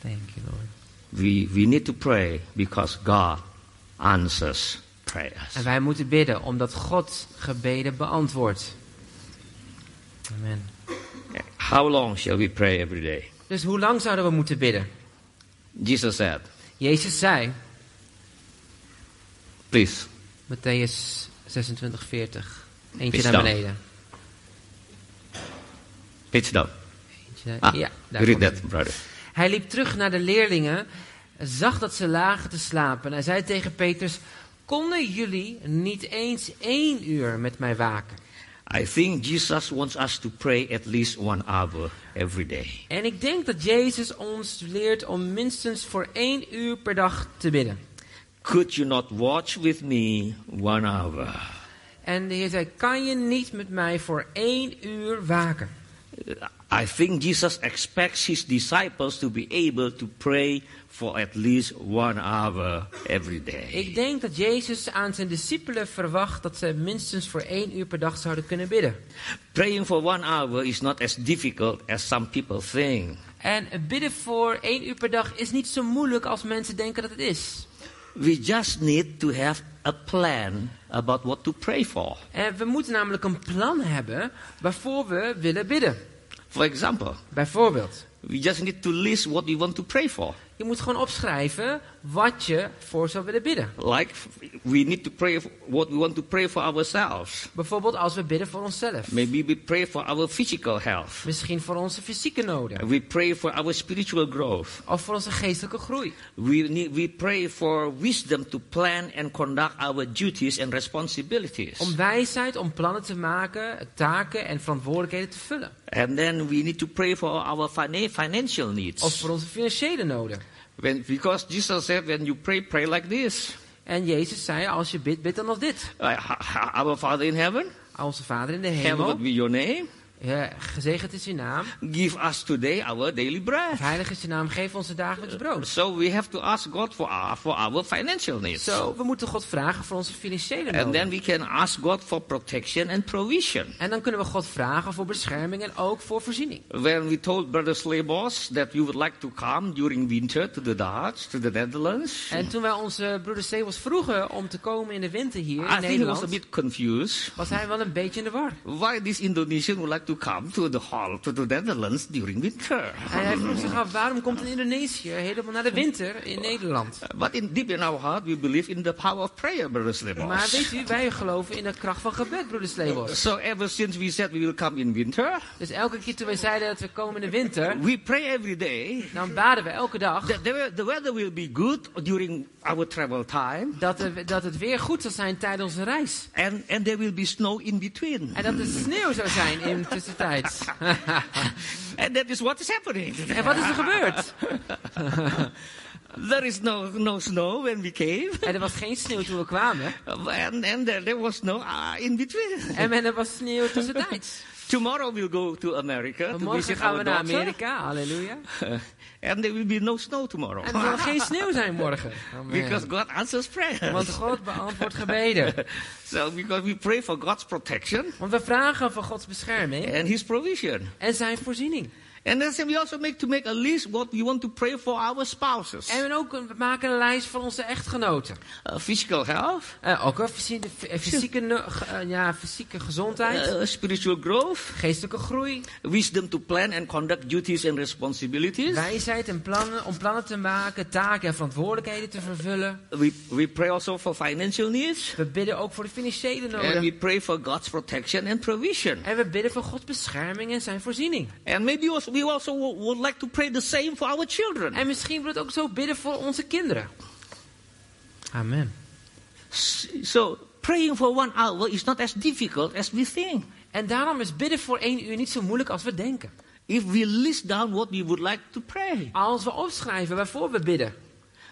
Speaker 2: Thank you, Lord.
Speaker 1: we, we need to pray because God answers prayers.
Speaker 2: En wij moeten bidden omdat God gebeden beantwoordt. Amen.
Speaker 1: How long shall we pray every day?
Speaker 2: Dus hoe lang zouden we moeten bidden?
Speaker 1: Jesus said,
Speaker 2: Jezus zei,
Speaker 1: Please
Speaker 2: Matthäus 26, 40. Eentje
Speaker 1: Is
Speaker 2: naar
Speaker 1: dat-
Speaker 2: beneden.
Speaker 1: pitch down.
Speaker 2: Eentje naar-
Speaker 1: Ah,
Speaker 2: ja, daar
Speaker 1: read
Speaker 2: komt
Speaker 1: that,
Speaker 2: ie.
Speaker 1: brother.
Speaker 2: Hij liep terug naar de leerlingen, zag dat ze lagen te slapen. Hij zei tegen Petrus, konden jullie niet eens één uur met mij waken?
Speaker 1: I think Jesus wants us to pray at least one hour every day.
Speaker 2: En ik denk dat Jezus ons leert om minstens voor één uur per dag te bidden.
Speaker 1: Could you not watch with me one hour?
Speaker 2: En de Heer zei, kan je niet met mij voor één uur waken?
Speaker 1: I think Jesus expects his disciples to be able to pray for at least one hour every
Speaker 2: Ik
Speaker 1: day.
Speaker 2: denk dat Jezus aan zijn discipelen verwacht dat ze minstens voor één uur per dag zouden kunnen bidden.
Speaker 1: Praying for one hour is not as difficult as some people think.
Speaker 2: En bidden voor één uur per dag is niet zo moeilijk als mensen denken dat het is.
Speaker 1: We just need to have a plan about what to pray for.
Speaker 2: En Eh, we moeten namelijk een plan hebben waarvoor we willen bidden.
Speaker 1: For example,
Speaker 2: Bijvoorbeeld,
Speaker 1: we just need to list what we want to pray for.
Speaker 2: je moet gewoon opschrijven wat je voor zou willen bidden.
Speaker 1: Like we need to pray for what we want to pray for ourselves.
Speaker 2: Bijvoorbeeld als we bidden voor onszelf.
Speaker 1: Maybe we pray for our physical health.
Speaker 2: Misschien voor onze fysieke noden.
Speaker 1: We pray for our spiritual growth.
Speaker 2: Of voor onze geestelijke groei.
Speaker 1: We, need, we pray for wisdom to plan and conduct our duties and responsibilities.
Speaker 2: Om wijsheid, om plannen te maken, taken en verantwoordelijkheden te vullen.
Speaker 1: And then we need to pray for our fina- financial
Speaker 2: Of
Speaker 1: needs.
Speaker 2: voor onze financiële noden.
Speaker 1: When, because Jesus said, when you pray, pray like this.
Speaker 2: En Jezus zei, als je bidt, bid dan als dit.
Speaker 1: Uh, ha- ha- our Father in heaven,
Speaker 2: Onze Vader in de
Speaker 1: hallowed
Speaker 2: hemel,
Speaker 1: be your name.
Speaker 2: ja, gezegend is uw naam.
Speaker 1: Give us today our daily bread.
Speaker 2: Heilig is uw naam, geef ons het dagelijks brood.
Speaker 1: So we have to ask God for our, for our financial needs.
Speaker 2: Zo, we moeten God vragen voor onze financiële
Speaker 1: and then
Speaker 2: noden.
Speaker 1: we can ask God for protection and provision.
Speaker 2: En dan kunnen we God vragen voor bescherming en ook voor voorziening.
Speaker 1: When we told Brother Slaybos that you would like to come during winter to the Dutch, to the Netherlands,
Speaker 2: En toen wij onze broeder Sebels vroegen om te komen in de winter hier
Speaker 1: I think he
Speaker 2: in
Speaker 1: was a
Speaker 2: Nederland,
Speaker 1: bit confused.
Speaker 2: was hij wel een beetje in de war.
Speaker 1: Why this Indonesian would like to come to the hall to the Netherlands during winter?
Speaker 2: En hij vroeg zich af, waarom komt een Indonesiër helemaal naar de winter in Nederland?
Speaker 1: But in, deep in our heart, we believe in the power of prayer, Brother
Speaker 2: Maar
Speaker 1: Slaybos.
Speaker 2: weet u, wij geloven in de kracht van gebed, broeder Slebos.
Speaker 1: So ever since we said we will come in winter,
Speaker 2: Dus elke keer toen wij zeiden dat we komen in de winter,
Speaker 1: we pray every day.
Speaker 2: dan baden we elke dag
Speaker 1: that the, the weather will be good during our travel time,
Speaker 2: dat, er- dat het weer goed zal zijn tijdens onze reis.
Speaker 1: and, and there will be snow in between.
Speaker 2: En dat er sneeuw zou zijn in tussentijds.
Speaker 1: And that is what is happening.
Speaker 2: En wat is er gebeurd?
Speaker 1: There is no, no snow when we came,
Speaker 2: En er was geen sneeuw toen we kwamen.
Speaker 1: and, and there, there was no uh, in between.
Speaker 2: En men- er was sneeuw tussentijds.
Speaker 1: Tomorrow we'll go to America
Speaker 2: En
Speaker 1: to
Speaker 2: morgen
Speaker 1: visit
Speaker 2: gaan
Speaker 1: our
Speaker 2: we naar
Speaker 1: daughter,
Speaker 2: Amerika, halleluja.
Speaker 1: and there will be no snow tomorrow.
Speaker 2: En er zal geen sneeuw zijn morgen. Oh,
Speaker 1: Because God answers prayers.
Speaker 2: Want God beantwoordt gebeden.
Speaker 1: So, because we pray for God's protection
Speaker 2: Want we vragen voor Gods bescherming
Speaker 1: and His provision.
Speaker 2: en zijn voorziening.
Speaker 1: And then we also make to make a list what we want to pray for our spouses.
Speaker 2: En ook, een- we maken een lijst van onze echtgenoten.
Speaker 1: Uh, physical health,
Speaker 2: Eh, ook een fysie- de- eh, fysieke, no- ge- eh, ja, fysieke gezondheid,
Speaker 1: uh, spiritual growth,
Speaker 2: geestelijke groei,
Speaker 1: wisdom to plan and conduct duties and responsibilities.
Speaker 2: wijsheid en plannen om plannen te maken, taken en verantwoordelijkheden te vervullen.
Speaker 1: We, we pray also for financial needs.
Speaker 2: We bidden ook voor de financiële
Speaker 1: And we
Speaker 2: noden.
Speaker 1: pray for God's protection and provision.
Speaker 2: En we bidden voor Gods bescherming en zijn voorziening.
Speaker 1: And maybe also, we also wo- would like to pray the same for our children.
Speaker 2: En misschien wordt het ook zo bidden voor onze kinderen. Amen.
Speaker 1: S- So, praying for one hour is not as difficult as we think.
Speaker 2: En daarom is bidden voor één uur niet zo moeilijk als we denken.
Speaker 1: If we list down what we would like to pray.
Speaker 2: Als we opschrijven waarvoor we bidden.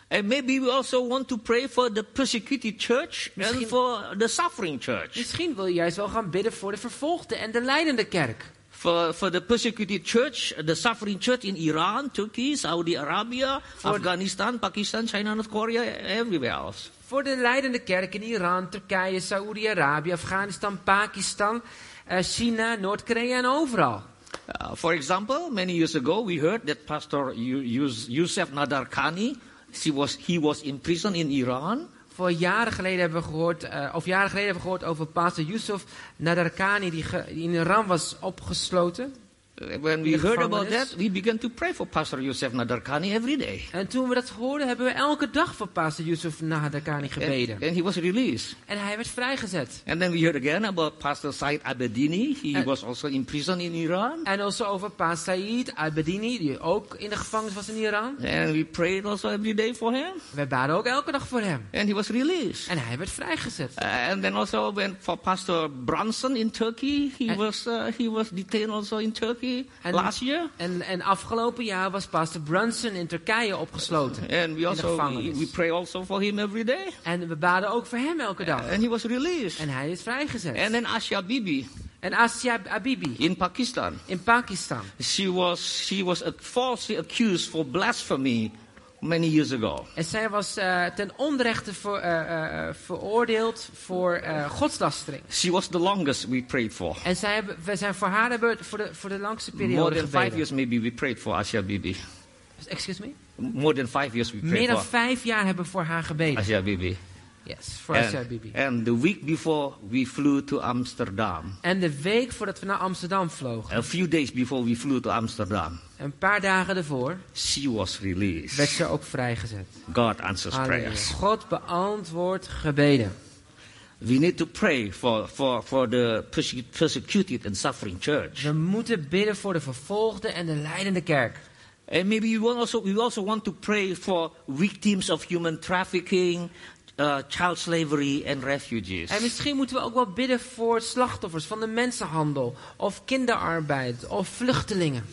Speaker 1: And maybe we also want to pray for the persecuted church and
Speaker 2: Misschien-
Speaker 1: for the suffering church.
Speaker 2: Misschien wil je juist wel gaan bidden voor de vervolgde en de leidende kerk.
Speaker 1: For, for the persecuted church, the suffering church in Iran, Turkey, Saudi Arabia, Afghanistan, Pakistan, China, North Korea, everywhere else.
Speaker 2: Voor de leidende kerk in Iran, Turkije, Saoedi-Arabië, Afghanistan, Pakistan, eh, China, Noord-Korea en overal.
Speaker 1: Uh, for example, many years ago, we heard that Pastor Yu- Yus- Yusuf Nadarkhani She was, he was in prison in Iran.
Speaker 2: Voor jaren geleden hebben we gehoord, eh, of jaren geleden hebben we gehoord over pastor Yusuf Nadarkani die, ge- die in Iran was opgesloten.
Speaker 1: Uh, When we
Speaker 2: In
Speaker 1: heard
Speaker 2: gevangenis.
Speaker 1: about that, we began to pray for Pastor Yosef Nadarkhani every day.
Speaker 2: En toen we dat hoorden, hebben we elke dag voor pastor Yusuf Nadarkani gebeden.
Speaker 1: And, and he was released.
Speaker 2: En hij werd vrijgezet.
Speaker 1: And then we heard again about Pastor Said Abedini. He
Speaker 2: Eh.
Speaker 1: was also in prison in Iran.
Speaker 2: En also over Paas Said Al-Bedini, die ook in de gevangenis was in Iran.
Speaker 1: And we prayed also every day for him.
Speaker 2: We baden ook elke dag voor hem.
Speaker 1: And he was released.
Speaker 2: En hij werd vrijgezet.
Speaker 1: Uh, and then also when for Pastor Branson in Turkey, he
Speaker 2: Eh.
Speaker 1: was uh, he was detained also in Turkey
Speaker 2: And-
Speaker 1: last year.
Speaker 2: En, en afgelopen jaar was pastor Brunson in Turkije opgesloten.
Speaker 1: And we
Speaker 2: in de
Speaker 1: also we,
Speaker 2: gevangenis.
Speaker 1: we pray also for him every day.
Speaker 2: En we baden ook voor hem elke dag.
Speaker 1: And he was released.
Speaker 2: En hij is vrijgezet.
Speaker 1: And then Asha Bibi
Speaker 2: En Asia Abibi
Speaker 1: in Pakistan.
Speaker 2: in Pakistan.
Speaker 1: She was she was uh, falsely accused for blasphemy many years ago.
Speaker 2: En zij was eh, ten onrechte ver- eh, eh, veroordeeld voor eh godslastering.
Speaker 1: She was the longest we prayed for.
Speaker 2: En zij hebben, we zijn voor haar hebben we voor de, voor de langste
Speaker 1: More
Speaker 2: periode
Speaker 1: than five
Speaker 2: gebeden.
Speaker 1: years maybe we prayed for Asha Bibi.
Speaker 2: Excuse me?
Speaker 1: More than five years we
Speaker 2: Meer
Speaker 1: prayed
Speaker 2: dan
Speaker 1: for
Speaker 2: vijf jaar hebben we voor haar gebeden.
Speaker 1: Asha Bibi.
Speaker 2: Yes, voor Asia
Speaker 1: And,
Speaker 2: Bibi.
Speaker 1: and the week before we flew to Amsterdam.
Speaker 2: En de week voordat we naar Amsterdam vlogen,
Speaker 1: A few days before we flew to Amsterdam,
Speaker 2: een paar dagen ervoor,
Speaker 1: she was
Speaker 2: werd
Speaker 1: released.
Speaker 2: ze ook vrijgezet.
Speaker 1: God answers
Speaker 2: Halleluja.
Speaker 1: prayers.
Speaker 2: God beantwoordt gebeden.
Speaker 1: We need to pray for, for, for the perse- persecuted and suffering church.
Speaker 2: We moeten bidden voor de vervolgde en de leidende kerk.
Speaker 1: And maybe we want also we also want to pray for victims of human trafficking, uh, child slavery, and refugees.
Speaker 2: En misschien moeten we ook wel bidden voor slachtoffers van de mensenhandel, of kinderarbeid, of vluchtelingen.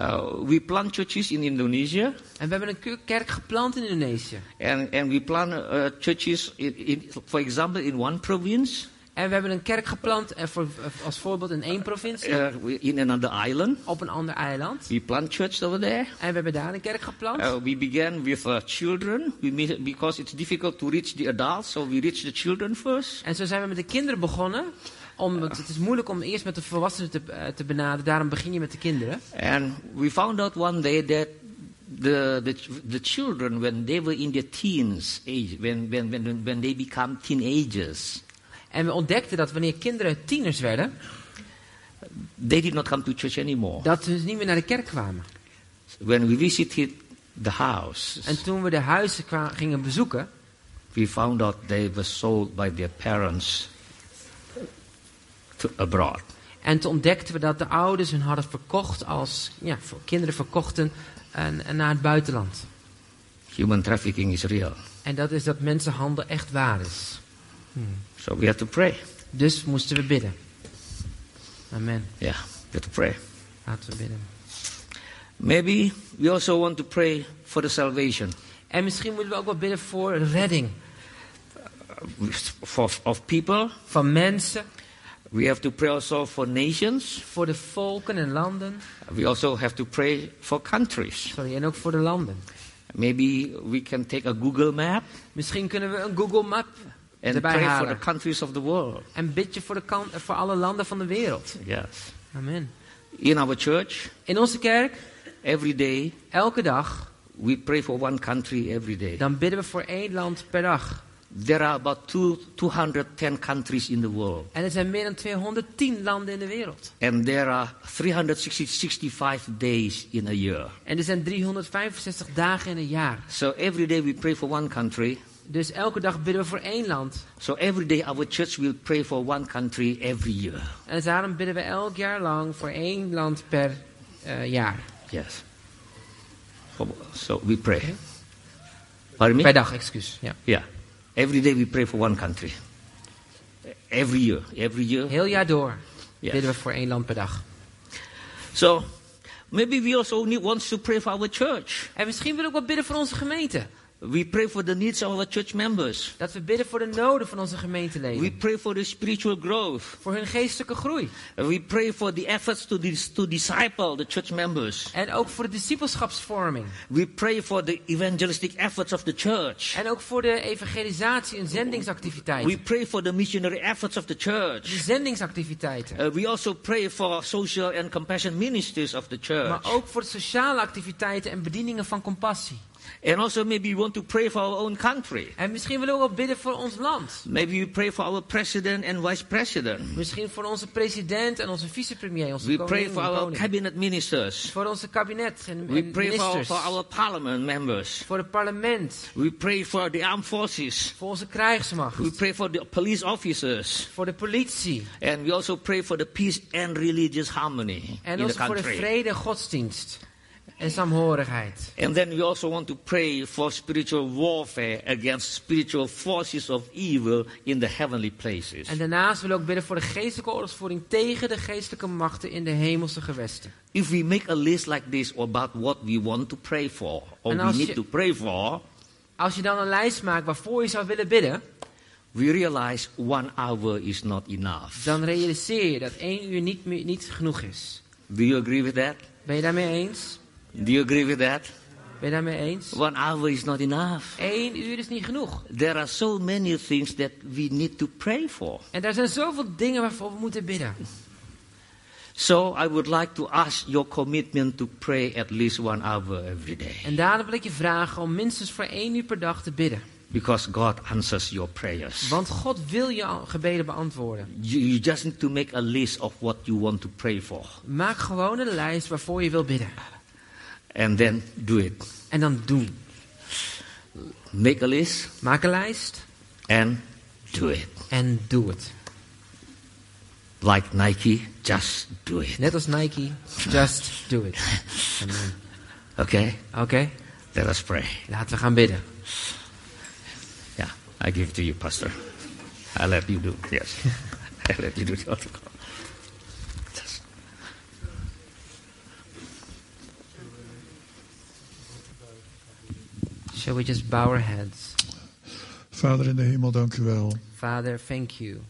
Speaker 1: Uh, we plant churches in Indonesia,
Speaker 2: En we hebben een ke- kerk geplant in Indonesië.
Speaker 1: and, and we plant uh, churches, in, in, for example, in one province,
Speaker 2: En we hebben een kerk geplant, eh, voor, eh, als voorbeeld in één provincie,
Speaker 1: uh, we- in another island.
Speaker 2: op een ander eiland.
Speaker 1: We plant church over there.
Speaker 2: En we hebben daar een kerk geplant.
Speaker 1: Uh, we began with uh, children we meet, because it's difficult to reach the adults, so we reach the children first.
Speaker 2: En zo zijn we met de kinderen begonnen. Om, want het is moeilijk om eerst met de volwassenen te, eh, te benaderen. Daarom begin je met de kinderen.
Speaker 1: And we found out one day that the, the, ch- the children, when they were in their teens age, when, when, when, when they become teenagers,
Speaker 2: En we ontdekten dat wanneer kinderen tieners werden,
Speaker 1: they did not come to church anymore.
Speaker 2: dat ze dus niet meer naar de kerk kwamen.
Speaker 1: When we visited the house,
Speaker 2: En toen we de huizen kwa- gingen bezoeken,
Speaker 1: we found out they were sold by their parents to abroad.
Speaker 2: en toen ontdekten we dat de ouders hun hadden verkocht als ja, voor kinderen verkochten en, en naar het buitenland.
Speaker 1: Human trafficking is real.
Speaker 2: En dat is dat mensenhandel echt waar is.
Speaker 1: So we have to pray.
Speaker 2: Dus moesten we bidden. Amen.
Speaker 1: Yeah, we have to pray.
Speaker 2: Laten we bidden.
Speaker 1: Maybe we also want to pray for the salvation
Speaker 2: En misschien moeten we ook wel bidden voor redding
Speaker 1: for, of people.
Speaker 2: van mensen.
Speaker 1: We have to pray also for nations.
Speaker 2: voor de volken en landen.
Speaker 1: We also have to pray for countries.
Speaker 2: Sorry, en ook voor de landen.
Speaker 1: Maybe we can take a Google map
Speaker 2: Misschien kunnen we een Google Map
Speaker 1: and
Speaker 2: erbij
Speaker 1: pray for the
Speaker 2: halen.
Speaker 1: countries of the world.
Speaker 2: En bid je voor, de kan- voor alle landen van de wereld.
Speaker 1: Yes.
Speaker 2: Amen.
Speaker 1: In our church,
Speaker 2: In onze kerk,
Speaker 1: every day,
Speaker 2: elke dag,
Speaker 1: we pray for one country every day.
Speaker 2: dan bidden we voor één land per dag.
Speaker 1: There are about two, 210 countries in the world,
Speaker 2: En er zijn meer dan 210 landen in de wereld.
Speaker 1: and there are 365 days in a year.
Speaker 2: En er zijn 365 dagen in een jaar.
Speaker 1: So every day we pray for one country.
Speaker 2: Dus elke dag bidden we voor één land.
Speaker 1: So every day our church will pray for one country every year.
Speaker 2: En daarom Eh, bidden we elk jaar lang voor één land per eh, jaar.
Speaker 1: Yes. So we pray. Pardon me?
Speaker 2: Per dag, excuus. Ja.
Speaker 1: Yeah. Every day we pray for one country. Every year. Every year.
Speaker 2: Heel jaar door
Speaker 1: Yes.
Speaker 2: bidden we voor één land per dag.
Speaker 1: So maybe we also need, want to pray for our church.
Speaker 2: En misschien wil ik wel bidden voor onze gemeente.
Speaker 1: We pray for the needs of our church members.
Speaker 2: Dat we bidden voor de noden van onze gemeenteleden.
Speaker 1: We pray for the spiritual growth.
Speaker 2: Voor hun geestelijke groei.
Speaker 1: We pray for the efforts to, dis- to disciple the church members.
Speaker 2: En ook voor de discipelschapsvorming.
Speaker 1: We pray for the evangelistic efforts of the church.
Speaker 2: En ook voor de evangelisatie en zendingsactiviteiten.
Speaker 1: We pray for the missionary efforts of the church.
Speaker 2: De zendingsactiviteiten.
Speaker 1: Uh, we also pray for social and compassion ministries of the church.
Speaker 2: oh. Maar ook voor de sociale activiteiten en bedieningen van compassie.
Speaker 1: And also, maybe we want to pray for our own country.
Speaker 2: En misschien willen we ook bidden voor ons land.
Speaker 1: Maybe we pray for our president and vice president.
Speaker 2: Misschien voor onze president en onze vicepremier, onze
Speaker 1: We
Speaker 2: koning,
Speaker 1: pray for
Speaker 2: en
Speaker 1: our
Speaker 2: koning.
Speaker 1: cabinet ministers.
Speaker 2: Voor onze kabinet en,
Speaker 1: We
Speaker 2: en
Speaker 1: pray for our,
Speaker 2: ministers.
Speaker 1: for our parliament members.
Speaker 2: Voor het parlement.
Speaker 1: We pray for the armed forces.
Speaker 2: Voor onze krijgsmacht.
Speaker 1: We pray for the police officers.
Speaker 2: Voor de politie.
Speaker 1: And we also pray for the peace and religious harmony
Speaker 2: En
Speaker 1: in the
Speaker 2: ook voor de
Speaker 1: country.
Speaker 2: vrede, godsdienst en saamhorigheid.
Speaker 1: And then we also want to pray for spiritual warfare against spiritual forces of evil in the heavenly places.
Speaker 2: En daarnaast willen we ook bidden voor de geestelijke oorlogsvoering tegen de geestelijke machten in de hemelse gewesten.
Speaker 1: If we make a list like this about what we want to pray for or
Speaker 2: And
Speaker 1: we
Speaker 2: I'll
Speaker 1: need
Speaker 2: sh-
Speaker 1: to pray for,
Speaker 2: Als je dan een lijst maakt waarvoor je zou willen bidden,
Speaker 1: we realize one hour is not enough.
Speaker 2: dan realiseer je dat één uur niet, meer- niet genoeg is.
Speaker 1: Do you agree with that?
Speaker 2: Ben je daarmee eens?
Speaker 1: Do you agree with that?
Speaker 2: Ben je daarmee eens?
Speaker 1: One hour is not enough.
Speaker 2: Eén uur is niet genoeg.
Speaker 1: There are so many things that we need to pray for.
Speaker 2: En daar zijn zoveel dingen waarvoor we moeten bidden.
Speaker 1: So I would like to ask your commitment to pray at least one hour every day
Speaker 2: En daarom wil ik je vragen om minstens voor één uur per dag te bidden.
Speaker 1: because God answers your prayers.
Speaker 2: Want God wil je gebeden beantwoorden.
Speaker 1: You, you just need to make a list of what you want to pray for
Speaker 2: Maak gewoon een lijst waarvoor je wil bidden.
Speaker 1: and then do it.
Speaker 2: En dan doen.
Speaker 1: Make a list
Speaker 2: Maak een lijst
Speaker 1: and do it.
Speaker 2: en doe het.
Speaker 1: Like Nike, just do it.
Speaker 2: Net als Nike, just do it. Amen.
Speaker 1: Okay?
Speaker 2: Oké,
Speaker 1: Let us pray.
Speaker 2: laten we gaan bidden.
Speaker 1: Yeah, I give it to you, Pastor. I let you do. Yes, I let you do the article. Yes.
Speaker 2: Shall we just bow our heads?
Speaker 3: Vader in de hemel, dank u wel.
Speaker 2: Father, thank you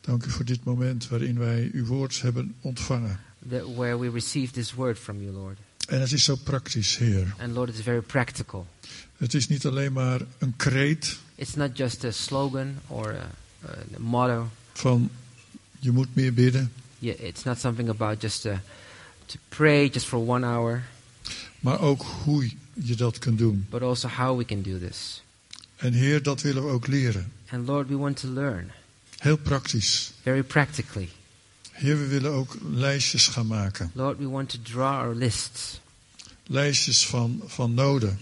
Speaker 3: Dank u voor dit moment waarin wij uw woord hebben ontvangen.
Speaker 2: that where we receive this word from you, Lord.
Speaker 3: En het is zo praktisch, Heer.
Speaker 2: And Lord, it's very practical.
Speaker 3: Het is niet alleen maar een kreet
Speaker 2: It's not just a slogan or a, a motto.
Speaker 3: van je moet meer bidden,
Speaker 2: Yeah, It's not something about just uh to pray just for one hour,
Speaker 3: maar ook hoe je dat kunt doen.
Speaker 2: but also how we can do this.
Speaker 3: En Heer, dat willen we ook leren.
Speaker 2: And Lord, we want to learn
Speaker 3: Heel praktisch.
Speaker 2: very practically.
Speaker 3: Heer, we willen ook lijstjes gaan maken.
Speaker 2: Lord, we want to draw our lists.
Speaker 3: Lijstjes van, van noden,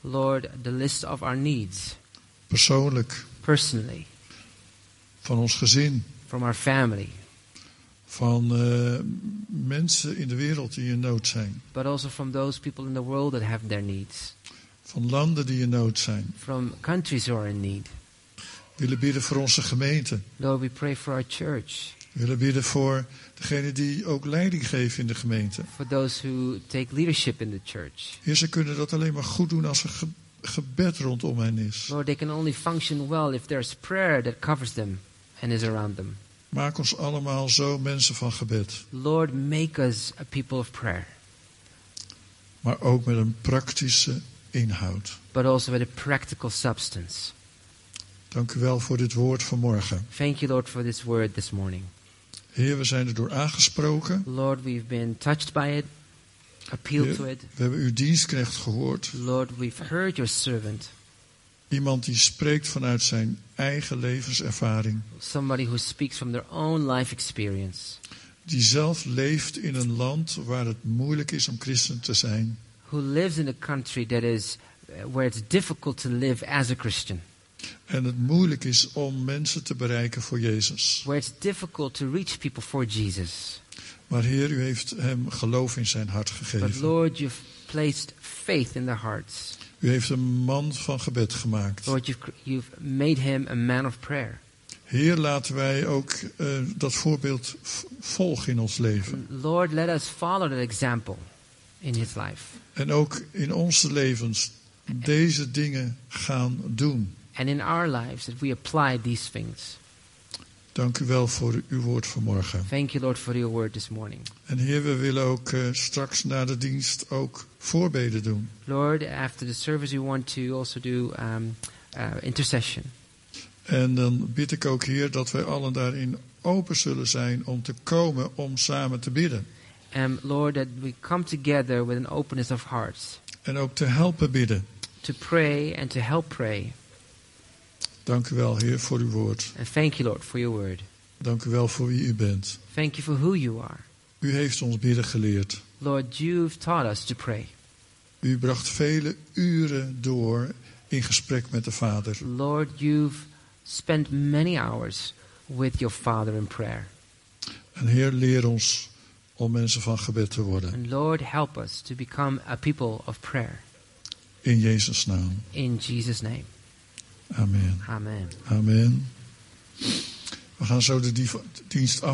Speaker 2: Lord, the list of our needs
Speaker 3: persoonlijk,
Speaker 2: personally,
Speaker 3: van ons gezin,
Speaker 2: from our family,
Speaker 3: van eh, mensen in de wereld die in nood zijn,
Speaker 2: but also from those people in the world that have their needs,
Speaker 3: van landen die in nood zijn.
Speaker 2: from countries who are in need.
Speaker 3: We willen bidden voor onze gemeente.
Speaker 2: Lord, we pray for our church,
Speaker 3: We willen bidden voor degene die ook leiding geven in de gemeente.
Speaker 2: for those who take leadership in the church.
Speaker 3: Heer, ze kunnen dat alleen maar goed doen als er ge- gebed rondom hen is.
Speaker 2: Lord, they can only function well if there's prayer that covers them and is around them.
Speaker 3: Maak ons allemaal zo mensen van gebed.
Speaker 2: Lord, make us a people of prayer,
Speaker 3: Maar ook met een praktische inhoud.
Speaker 2: but also with a practical substance.
Speaker 3: Dank u wel voor dit woord vanmorgen.
Speaker 2: Thank you, Lord, for this word this morning.
Speaker 3: Heer, we zijn erdoor aangesproken.
Speaker 2: Lord, we've been touched by it, appealed
Speaker 3: Yeah.
Speaker 2: to it.
Speaker 3: We hebben uw dienstknecht gehoord.
Speaker 2: Lord, we've heard your servant,
Speaker 3: Iemand die spreekt vanuit zijn eigen levenservaring.
Speaker 2: somebody who speaks from their own life experience,
Speaker 3: Die zelf leeft in een land waar het moeilijk is om christen te zijn.
Speaker 2: who lives in a country that is uh, where it's difficult to live as a Christian,
Speaker 3: En het moeilijk is om mensen te bereiken voor Jezus.
Speaker 2: where it's difficult to reach people for Jesus.
Speaker 3: Maar Heer, u heeft hem geloof in zijn hart
Speaker 2: But
Speaker 3: gegeven.
Speaker 2: Lord, you've placed faith in their hearts.
Speaker 3: U heeft een man van gebed gemaakt.
Speaker 2: Lord, you've, cr- you've made him a man of prayer.
Speaker 3: Heer, laten wij ook eh, dat voorbeeld v- volgen in ons leven.
Speaker 2: Lord, let us follow that example in his life
Speaker 3: En ook in onze levens deze dingen gaan doen.
Speaker 2: and in our lives that we apply these things.
Speaker 3: Dank u wel voor uw woord vanmorgen.
Speaker 2: Thank you, Lord, for your word this morning.
Speaker 3: En Heer, we willen ook eh, straks na de dienst ook voorbeden doen.
Speaker 2: Lord, after the service, we want to also do um, uh, intercession.
Speaker 3: En dan bid ik ook, Heer, dat wij allen daarin open zullen zijn om te komen om samen te bidden.
Speaker 2: Um, Lord, that we come together with an openness of hearts
Speaker 3: En ook te helpen bidden.
Speaker 2: to pray and to help pray.
Speaker 3: Dank u wel, Heer, voor uw woord.
Speaker 2: And thank you, Lord, for your word.
Speaker 3: Dank u wel voor wie u bent.
Speaker 2: Thank you for who you are.
Speaker 3: U heeft ons bidden geleerd.
Speaker 2: Lord, you've taught us to pray.
Speaker 3: U bracht vele uren door in gesprek met de Vader.
Speaker 2: Lord, you've spent many hours with your Father in prayer.
Speaker 3: En Heer, leer ons om mensen van gebed te worden.
Speaker 2: And Lord, help us to become a people of prayer.
Speaker 3: In Jezus' naam.
Speaker 2: In Jesus' name.
Speaker 3: Amen.
Speaker 2: Amen.
Speaker 3: Amen. We gaan zo de dief- dienst af.